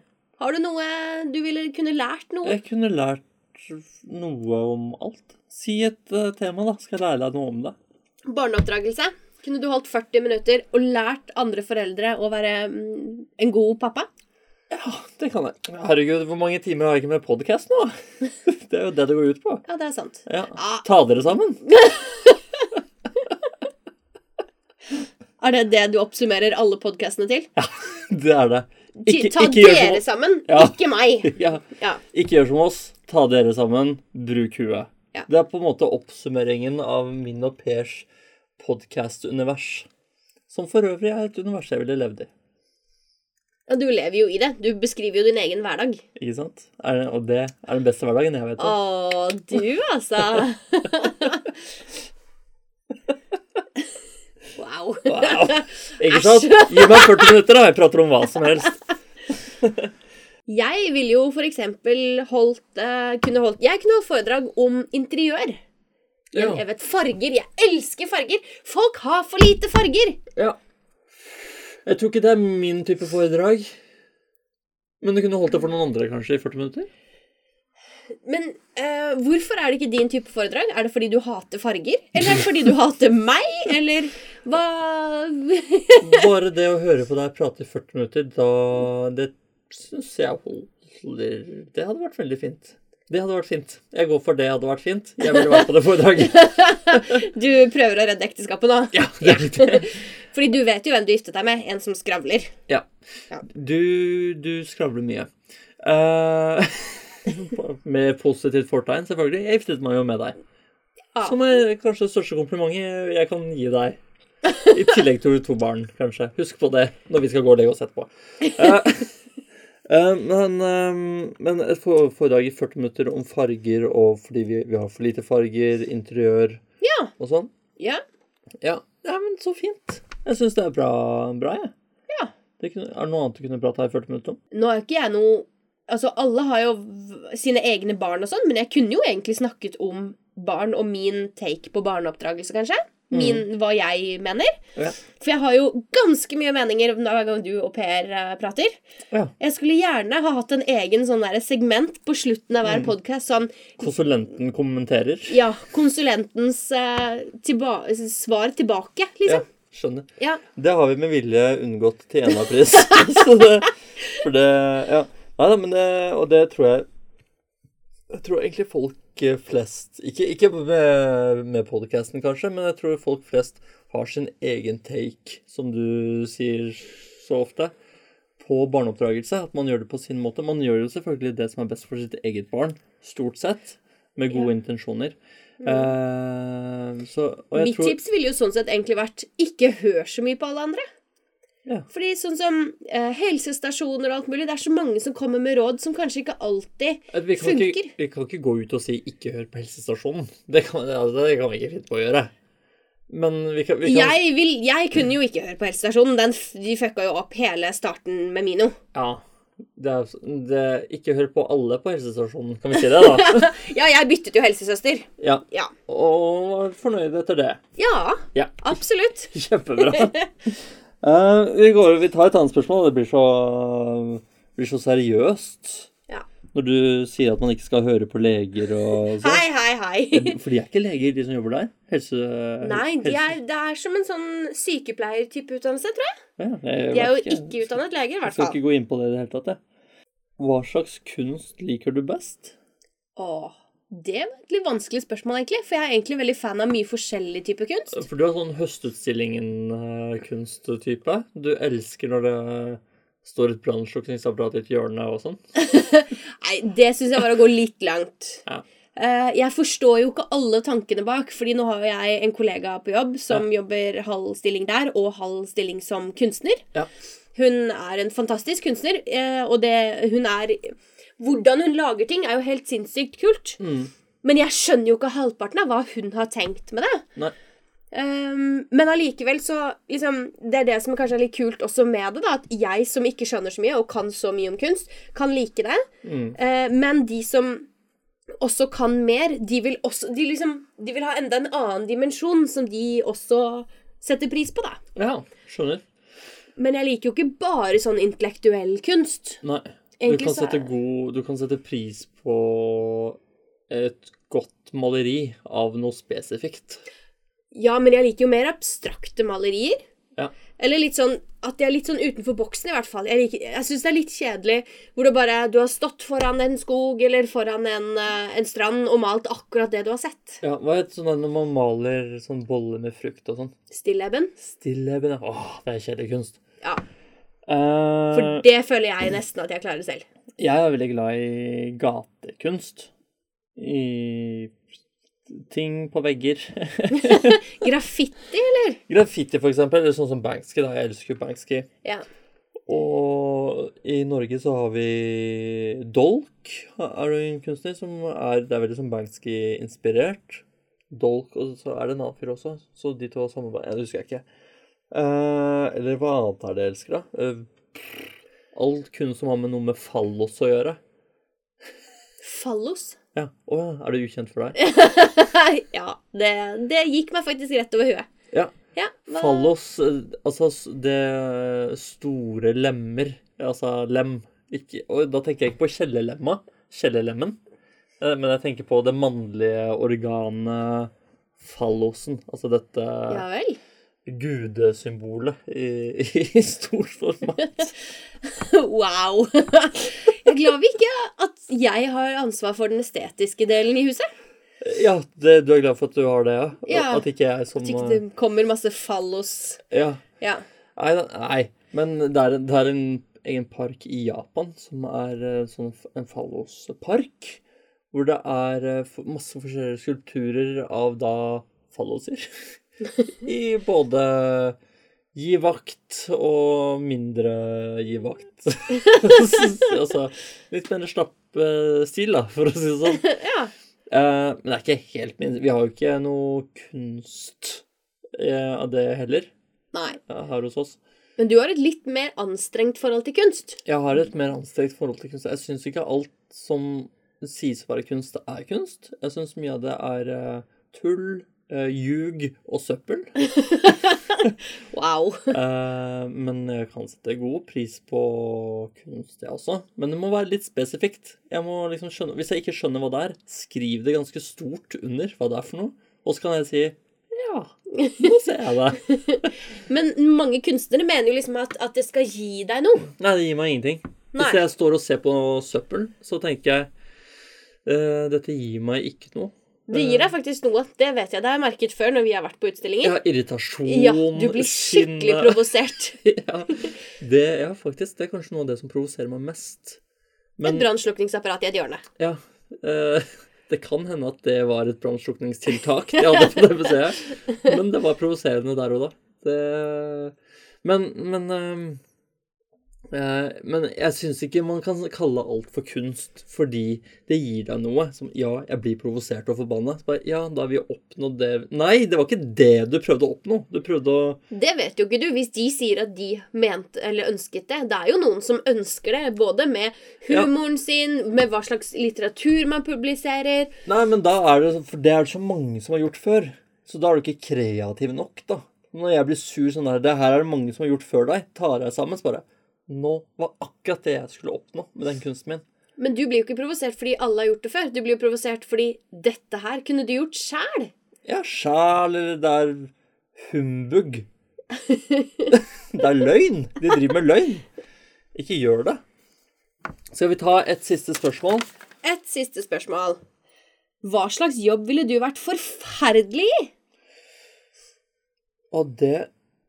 Har du noe du ville kunne lært noe?
jeg kunne lært noe om alt. Si et eh, tema, da. Skal jeg lære deg noe om det.
Barneoppdragelse? Kunne du holdt 40 minutter og lært andre foreldre å være mm, en god pappa?
Det kan jeg. Herregud, hvor mange timer har jeg ikke med podkast nå? <laughs> Det er jo det det går ut på.
Ja, det er sant.
Ja.
Ah.
Ta dere sammen. <laughs>
Er det det du oppsummerer alle podkastene til?
Det er det.
Ti- Ta
gjør
dere
som,
sammen,
Ja.
ikke meg.
ja,
Ja.
ikke gjør som oss. Ta dere sammen. Bruk huet.
Ja.
Det er på en måte oppsummeringen av min og Pers podkast-univers. Som for øvrig er et univers jeg ville levd i.
Ja, Du lever jo i det. Du beskriver jo din egen hverdag.
Ikke sant? Er det, og det er den beste hverdagen jeg vet
Å,
om.
du, altså.
<laughs>
wow.
Wow. Ikke sant? Gi meg 40 minutter, da. Jeg prater om hva som helst.
Jeg ville jo for eksempel holdt, eh, kunne holdt Jeg kunne holdt foredrag om interiør. <laughs> Jeg,
Ja.
jeg vet farger. Jeg elsker farger! Folk har for lite farger!
Ja. Jeg tror ikke det er min type foredrag. Men du kunne holdt det for noen andre, kanskje, i 40 minutter?
Men eh, hvorfor er det ikke din type foredrag? Er det fordi du hater farger? Eller er det fordi du hater meg? Eller hva <laughs>
Bare det å høre på deg prate i 40 minutter, da Det syns jeg holder Det hadde vært veldig fint. Det hadde vært fint. Jeg går for det hadde vært fint. Jeg ville vært på det foredraget.
Du prøver å redde ekteskapet nå?
Ja, det er riktig.
Fordi du vet jo hvem du giftet deg med. En som skravler.
Ja.
Ja.
Du, du skravler mye. Eh, <laughs> med positivt fortegn, selvfølgelig. Jeg giftet meg jo med deg.
Ja.
Som er kanskje det største komplimentet jeg kan gi deg.
<laughs>
I tillegg til to barn, kanskje. Husk på det når vi skal gå og legge oss etterpå. Eh, <laughs> eh, men, eh, men et for- foredrag i 40 minutter om farger og fordi vi, vi har for lite farger, interiør
Ja.
og sånn.
Ja.
Ja, ja men så fint. Jeg syns det er bra, bra jeg.
Ja.
Det kunne, er det noe annet du kunne prata i 40 minutter om?
Nå er jo ikke jeg noe Altså, alle har jo v- sine egne barn og sånn, men jeg kunne jo egentlig snakket om barn og min take på barneoppdragelse, kanskje. Min,
Mm.
Hva jeg mener.
Ja.
For jeg har jo ganske mye meninger hver gang du og Per eh, prater.
Ja.
Jeg skulle gjerne ha hatt en egen sånn der segment på slutten av hver
Mm.
podcast podkast. Sånn
Konsulenten kommenterer.
ja, konsulentens eh, tilba svar tilbake,
Ja,
liksom.
skjønner.
Ja.
Det har vi med vilje unngått til enhver pris. <laughs> Så det, for det Ja. Nei da, men det Og det tror jeg Jeg tror egentlig folk eh, flest Ikke, ikke med, med podkasten, kanskje, men jeg tror folk flest har sin egen take, som du sier så ofte, på barneoppdragelse. At man gjør det på sin måte. Man gjør jo selvfølgelig det som er best for sitt eget barn, stort sett. Med gode intensjoner. Eh, så, og jeg
Mm. Mitt
tror,
tips ville jo sånn sett egentlig vært ikke hør så mye på alle andre.
Ja.
Fordi sånn som eh, helsestasjoner og alt mulig, det er så mange som kommer med råd som kanskje ikke alltid
At vi, kan
funker.
ikke, vi kan ikke gå ut og si 'ikke hør på helsestasjonen'. Det kan, ja, det kan vi ikke finne på å gjøre. Men vi kan, vi kan
Jeg, vil, jeg kunne jo ikke høre på helsestasjonen. Den, f- de fucka jo opp hele starten med Mino.
Ja. Det er, det, ikke hør på alle på helsestasjonen, kan vi si det,
<laughs>
da?
Ja, jeg byttet jo helsesøster.
Ja.
Ja.
Og var fornøyd etter det.
Ja,
Ja. <laughs>
absolutt. <laughs>
Kjempebra. Eh, vi, går, vi tar et annet spørsmål. Det blir så, blir så seriøst.
Ja.
Når du sier at man ikke skal høre på leger og sånn.
Hei, hei,
<laughs>
hei.
For de er ikke leger, de som jobber der? Helse...
Nei, de
helse-
er, det er som en sånn sykepleiertype utdannelse, tror jeg.
Ja, jeg
De er
vet
jo ikke utdannet leger, i
Jeg
hvert
skal
fall.
ikke gå inn på det i det hele tatt, jeg. Hva slags kunst liker du best?
Åh, det var et litt vanskelig spørsmål, egentlig. For jeg er egentlig veldig fan av mye forskjellig type kunst.
For du har sånn Høstutstillingen-kunsttype. Du elsker når det står et brannslukningsapparat i et hjørne og sånn.
Nei, det syns jeg var å gå litt langt.
Ja.
Eh, jeg forstår jo ikke alle tankene bak, fordi nå har jo jeg en kollega på jobb som jobber halv stilling der, og halv stilling som kunstner.
Ja.
Hun er en fantastisk kunstner, eh, og det hun er Hvordan hun lager ting, er jo helt sinnssykt kult.
Mm.
Men jeg skjønner jo ikke halvparten av hva hun har tenkt med det.
Nei.
Ehm, men allikevel så liksom, Det er det som kanskje er litt kult også med det, da, at jeg som ikke skjønner så mye og kan så mye om kunst, kan like det.
Mm.
Eh, men de som også kan mer, de vil også de, liksom, de vil ha enda en annen dimensjon som de også setter pris på, da.
Ja, skjønner.
Men jeg liker jo ikke bare sånn intellektuell kunst.
Nei. Du
Egentlig
kan,
så er-
sette god, du kan sette pris på et godt maleri av noe spesifikt.
Ja, men jeg liker jo mer abstrakte malerier.
Ja.
Eller litt sånn at de er litt sånn utenfor boksen, i hvert fall. Jeg, liker- jeg syns det er litt kjedelig hvor det bare Du har stått foran en skog eller foran en, eh, en strand og malt akkurat det du har sett.
Ja, Hva heter sånn der når man maler sånn boller med frukt og sånn?
Stilleben.
Stilleben. Åh, det er kjedelig kunst.
Ja.
Eh,
For det føler jeg nesten at jeg klarer selv.
Jeg er veldig glad i gatekunst. I ting på vegger. <laughs>
Graffiti, eller?
Graffiti, for eksempel. Eller sånn som Banksy. da, Jeg elsker jo Banksy.
Ja.
Og i Norge så har vi Dolk, er det en kunstner som er Det er veldig sånn Banksy-inspirert. Dolk, og så er det en annen fyr også. Så de to har samarbeid. Jeg husker jeg ikke. Eh, eller hva annet er det jeg elsker, da? Eh, all kunst som har med noe med fallos å gjøre.
Fallos. <laughs>
Ja. Å ja, er det ukjent for deg?
ja, det, det gikk meg faktisk rett over huet.
Ja.
Ja, hva-
Fallos, eh, altså s- det store lemmer, altså lem ikke, Og da tenker jeg ikke på kjellerlemma, kjellerlemmen, eh, men jeg tenker på det mannlige organet fallosen, altså dette
Ja vel. <laughs>
gudesymbolet i, <laughs> i stort format.
Wow. <laughs> Jeg er glad vi ikke at jeg har ansvar for den estetiske delen i huset.
Ja, det, du er glad for at du har det, ja?
Ja.
At ikke jeg som
Så ikke
eh,
det kommer masse fallos.
Ja.
Ja.
Nei, da- nei. men det er, det er en egen park i Japan som er eh, sånn f- en fallospark. Hvor det er eh, f- masse forskjellige skulpturer av da falloser. <laughs> I både gi vakt og mindre gi vakt. <laughs> altså litt mer slapp eh, stil, da, for å si det sånn.
Ja.
Eh, men det er ikke helt min Vi har jo ikke noe kunst eh, av det heller
Nei.
eh, her hos oss.
Men du har et litt mer anstrengt forhold til kunst.
Jeg har et mer anstrengt forhold til kunst. Jeg syns ikke alt som sies å være kunst, er kunst. Jeg syns mye av det er eh, tull, eh, ljug og søppel.
Wow.
Eh, men jeg kan sette god pris på kunst, jeg også. Men det må være litt spesifikt. Jeg må liksom skjønne, Hvis jeg ikke skjønner hva det er, skriv det ganske stort under hva det er for noe. Og så kan jeg si ja, <laughs> nå ser jeg det.
Men mange kunstnere mener jo liksom at, at det skal gi deg noe.
Nei, det gir meg ingenting.
Nei.
Hvis jeg står og ser på søppel, så tenker jeg eh, dette gir meg ikke noe.
Det gir deg faktisk noe. Det vet jeg. Det har jeg merket før når vi har vært på
Jeg
utstillinger.
har irritasjon,
Ja, du blir skikkelig
sinne.
provosert.
<laughs> ja, det, ja, faktisk. Det er kanskje noe av det som provoserer meg mest.
Et brannslukningsapparat i et hjørne.
Ja. eh, <laughs> det kan hende at det var et brannslukningstiltak de hadde på det museet. Men det var provoserende der og da. Det, men men eh, eh, men jeg syns ikke man kan kalle alt for kunst, fordi det gir deg noe. Som ja, jeg blir provosert og forbanna. Så bare, ja, da har vi oppnådd det Nei, det var ikke det du prøvde å oppnå. Du prøvde å
Det vet jo ikke du hvis de sier at de mente eller ønsket det. Det er jo noen som ønsker det, både med humoren sin, med hva slags litteratur man publiserer.
Nei, men da er det sånn, For det er det så mange som har gjort før. Så da er du ikke kreativ nok, da. Når jeg blir sur sånn der Det her er det mange som har gjort før deg. Tar jeg sammen, så bare Nå var akkurat det jeg skulle oppnå med den kunsten min.
Men du blir jo ikke provosert fordi alle har gjort det før. Du blir jo provosert fordi dette her kunne du gjort sjæl.
Ja, sjæl, eller det er humbug. <laughs> det er løgn. De driver med løgn. Ikke gjør det. Skal vi ta et siste spørsmål?
Et siste spørsmål. Hva slags jobb ville du vært forferdelig i?
Og det,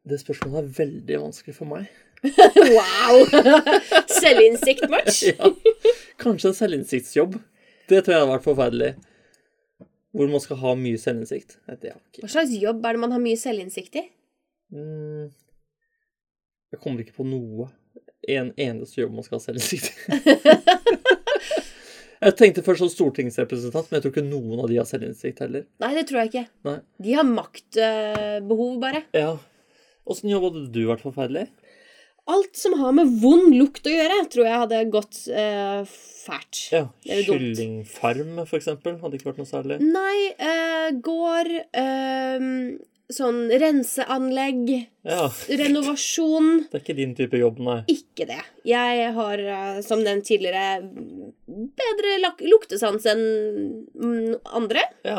det spørsmålet er veldig vanskelig for meg.
Wow! <laughs> Selvinnsikt, March.
<laughs> Ja. Kanskje en selvinnsiktsjobb. Det tror jeg hadde vært forferdelig. Hvor man skal ha mye selvinnsikt. Nei, Det er ikke
Hva slags jobb er det man har mye selvinnsikt i?
mm. Jeg kommer ikke på noe. En eneste jobb man skal ha selvinnsikt i. <laughs> jeg tenkte først som stortingsrepresentant, men jeg tror ikke noen av de har selvinnsikt heller.
Nei, det tror jeg ikke.
Nei.
De har maktbehov, bare.
Ja. Åssen jobb hadde du vært forferdelig?
Alt som har med vond lukt å gjøre, tror jeg hadde gått eh, fælt.
Ja,
Det er jo dumt.
Kyllingfarm, for eksempel, hadde ikke vært noe særlig.
Nei, eh, gård eh, Sånn renseanlegg,
Ja,
renovasjon
Det er ikke din type jobb, nei.
Ikke det. Jeg har, eh, som nevnt tidligere, bedre lak luktesans enn mm, andre.
Ja.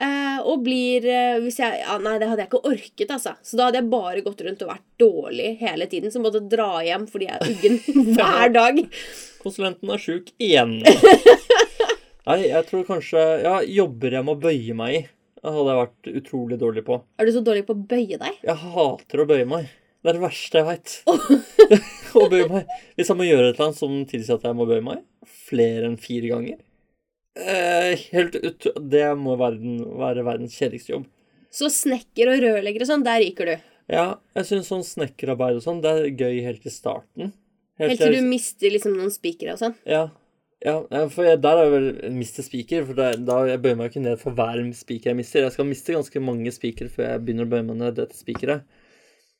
Eh, og blir eh, hvis jeg, ja, Nei, det hadde jeg ikke orket, altså. Så da hadde jeg bare gått rundt og vært dårlig hele tiden. Så måtte jeg dra hjem fordi jeg er uggen hver dag.
Konsulenten er sjuk
<laughs>
igjen. Nei, jeg tror kanskje Ja, jobber jeg må bøye meg i. Det hadde jeg vært utrolig dårlig på.
Er du så dårlig på å bøye deg?
Jeg hater å bøye meg. Det er det verste jeg
<laughs>
veit. å bøye meg. Hvis jeg må gjøre et eller annet som tilsier at jeg må bøye meg flere enn fire ganger eh, Helt ut Det må verden, være verdens kjedeligste jobb.
Så snekker og rørlegger og sånn, der ryker du.
Ja, jeg syns sånn snekkerarbeid og sånn, det er gøy helt i starten.
Helt til du mister liksom noen spikere og sånn.
Ja. Ja, ja, for jeg, der er jeg vel mister spiker, for der, da jeg bøyer meg ikke ned for hver spiker jeg mister. Jeg skal miste ganske mange spiker før jeg begynner å bøye meg ned dette spikeret.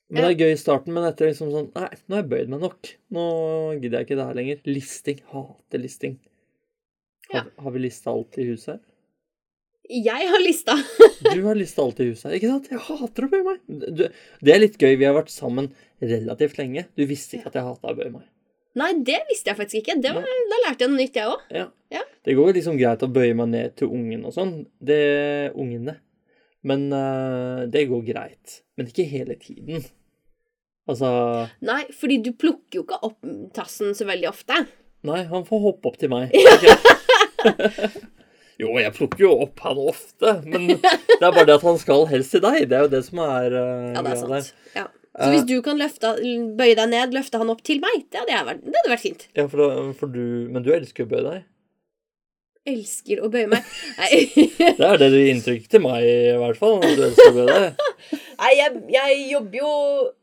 Men det er gøy i starten, men etter liksom sånn Nei, nå har jeg bøyd meg nok. Nå gidder jeg ikke det her lenger. Listing. Hater listing. Har, har vi lista alt i huset her?
Jeg har lista.
Du har lista alt i huset her, ikke sant? Jeg hater å bøye meg. Du, det er litt gøy. Vi har vært sammen relativt lenge. Du visste ikke at jeg hata å bøye meg.
Nei, det visste jeg faktisk ikke. Det var, da lærte jeg noe nytt, jeg òg.
Ja.
Ja.
Det går jo liksom greit å bøye meg ned til ungen og sånn. Det Ungene. Men eh, det går greit. Men ikke hele tiden. Altså
Nei, fordi du plukker jo ikke opp tassen så veldig ofte.
Nei, han får hoppe opp til
<laughs>
meg. Ok. jo, jeg plukker jo opp han ofte, men det er bare det at han skal helst til deg. Det er jo det som er
Ja,
eh,
det er
greia
sant.
der.
Ja. Så hvis du kan løfte, bøye deg ned, løfte han opp til meg, det hadde, jeg vært, det hadde vært fint.
Ja, for, da- for du, men du elsker å bøye deg.
Elsker å bøye <laughs> meg. Nei, <laughs>
Det er det du gir inntrykk til meg, i hvert fall. at Du elsker å bøye deg.
Nei jeg, jeg jobber jo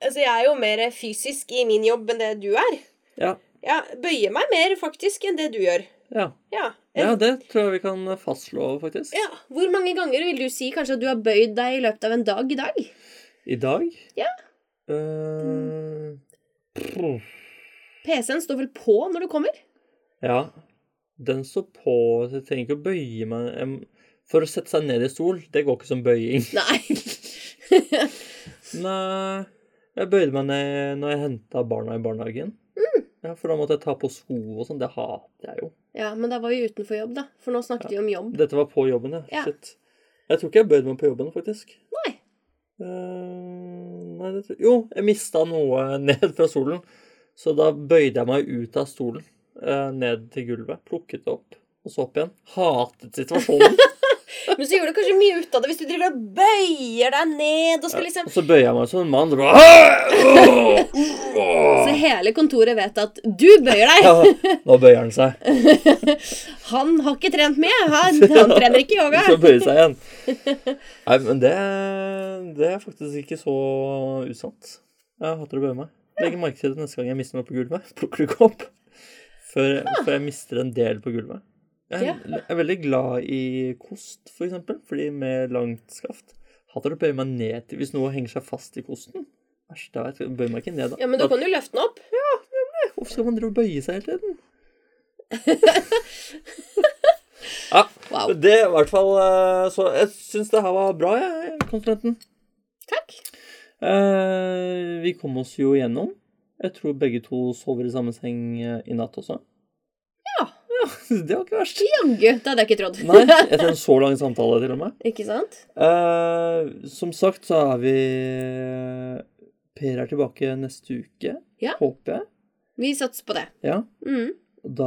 Altså, jeg er jo mer fysisk i min jobb enn det du er.
Ja.
Jeg bøyer meg mer, faktisk, enn det du gjør.
Ja.
Ja.
ja, det tror jeg vi kan fastslå, faktisk.
Ja, Hvor mange ganger vil du si kanskje at du har bøyd deg i løpet av en dag i dag?
I dag?
Ja.
Eh, pff,
PC-en står vel på når du kommer?
ja. Den står på så Jeg trenger ikke å bøye meg Em, For å sette seg ned i stol, det går ikke som bøying. <laughs>
Nei.
Nei, jeg bøyde meg ned når jeg henta barna i barnehagen. Ja, For da måtte jeg ta på sko og sånn. Det hater jeg jo.
<laughs> Ja, men da var vi utenfor jobb, da. For nå snakket vi om jobb.
Dette var på jobben, ja.
Ja.
Shit. Jeg tror ikke jeg bøyde meg på jobben, faktisk.
Nei.
Eh, nei, det tror Jo, jeg mista noe ned fra stolen. Så da bøyde jeg meg ut av stolen, eh, ned til gulvet, plukket det opp, og så opp igjen. Hatet situasjonen.
Men så gjør du kanskje mye ut av det hvis du driver og bøyer deg ned og skal liksom
Og så bøyer jeg meg som en mann. og bare-
Så hele kontoret vet at du bøyer deg!
Ja, nå bøyer han seg.
<laughs> Han har ikke trent mye! Han, han trener ikke
<laughs>
yoga!
Så bøyer seg igjen.
<laughs>
Nei, men det, det er faktisk ikke så usant. Jeg hater å bøye meg. Legg merke til det neste gang jeg mister noe på gulvet. <laughs> Plukker du ikke opp før,
Ah.
før jeg mister en del på gulvet. Jeg er, jeg er veldig glad i kost, for eksempel, fordi med langt skaft. Hater å bøye meg ned til hvis noe henger seg fast i kosten. Verst, jeg vet, bøyer meg ikke ned da.
Ja, men du
da
kan jo løfte den opp.
Hvorfor skal man drive og bøye seg hele <laughs> tiden? ja,
Wow.
Ah, det er i hvert fall eh, Så jeg syns det her var bra, jeg, konsulenten.
Takk.
Eh, vi kom oss jo gjennom. Jeg tror begge to sover i samme seng eh, i natt også. <laughs> det var ikke verst.
Jaggu! Det hadde jeg ikke trodd.
Nei, etter en så lang samtale, til og med.
<laughs> Ikke sant?
Eh, som sagt så er vi eh, Per er tilbake neste uke,
Ja.
håper jeg.
Vi satser på det.
Ja.
Mm.
Da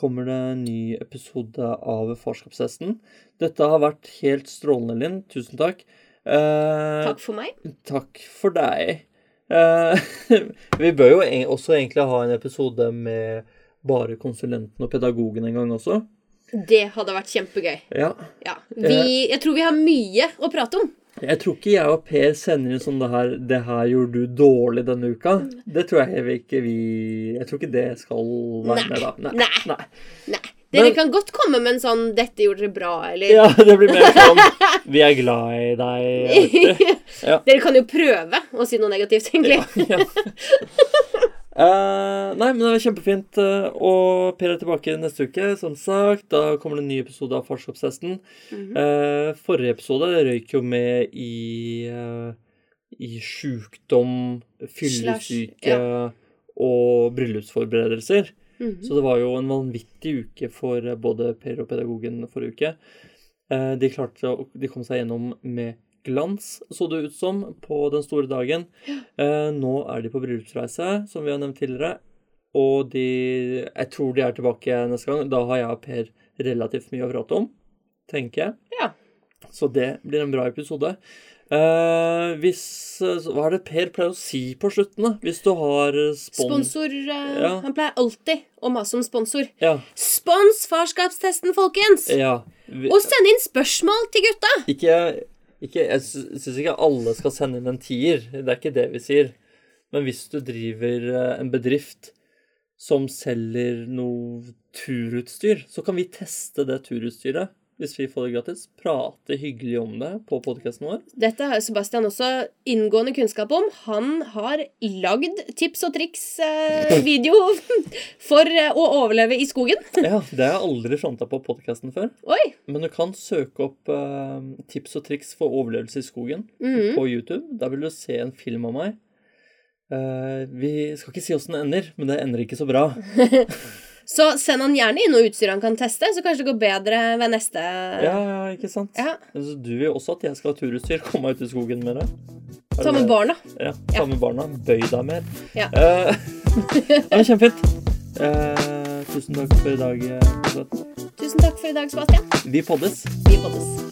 kommer det en ny episode av Farskapstesten. Dette har vært helt strålende, Linn. Tusen takk. Eh,
Takk for meg.
Takk for deg. Eh, <laughs> vi bør jo eng- også egentlig ha en episode med bare konsulenten og pedagogen en gang også.
Det hadde vært kjempegøy.
Ja.
Ja.
Eh.
Vi, jeg tror vi har mye å prate om.
Jeg tror ikke jeg og Per sender inn sånn det her, det her gjorde du dårlig denne uka.
Mm.
Det tror jeg heller ikke vi Jeg tror ikke det skal være med, da.
Nei.
Nei.
Nei. Dere
Men-
kan godt komme med en sånn 'dette gjorde dere bra', <laughs> eller
Ja, det blir mer sånn Vi er glad i
<laughs>
deg.
Dere kan jo prøve å si noe negativt, egentlig.
<laughs> Ja. Eh, nei, men det var kjempefint. eh, Og Per er tilbake neste uke, som sagt. Da kommer det en ny episode av Farskapstesten. Eh, forrige episode røyk jo med i eh, I sjukdom, fyllesyke
ja.
og bryllupsforberedelser.
Mhm.
Så det var jo en vanvittig uke for eh, både Per og pedagogen forrige uke. Eh, De, klarte, å- de kom seg gjennom med glans, så det ut som, på den store dagen. Eh, Nå er de på bryllupsreise, som vi har nevnt tidligere. Og de Jeg tror de er tilbake neste gang. Da har jeg og Per relativt mye å prate om, tenker jeg.
Ja.
Så det blir en bra episode. Eh, hvis eh, Hva er det Per pleier å si på slutten, da? Hvis du har eh, spon...
Sponsor eh,
Ja.
Han pleier alltid å mase om sponsor.
Ja.
Spons farskapstesten, folkens!
ja. Vi-
Og send inn spørsmål til gutta!
Ikke, ikke Jeg sy- syns ikke alle skal sende inn en tier. Det er ikke det vi sier. Men hvis du driver eh, en bedrift som selger noe turutstyr, så kan vi teste det turutstyret hvis vi får det gratis. Prate hyggelig om det på podkasten vår.
Dette har Sebastian også inngående kunnskap om. Han har lagd tips og
<laughs>
triks-video for eh, å overleve i skogen.
Ja, Det har jeg aldri fronta på podkasten før.
Oi!
Men du kan søke opp eh, tips og triks for overlevelse i skogen
Mhm.
på YouTube. Der vil du se en film av meg. Eh, vi skal ikke si åssen det ender, men det ender ikke så bra.
Så send han gjerne inn noe utstyr han kan teste, så kanskje det går bedre ved neste
Ja, ja, ikke sant?
Ja.
Så du vil jo også at jeg skal ha turutstyr, komme meg ut i skogen med det. Er
Ta med
det-
barna.
Ja, ta med barna. Bøy deg mer.
Ja.
Eh, <laughs> det var kjempefint. Eh, tusen takk for i dag. eh, Elisabeth.
Tusen takk for i dag, Sebastian.
Vi poddes.
Vi poddes.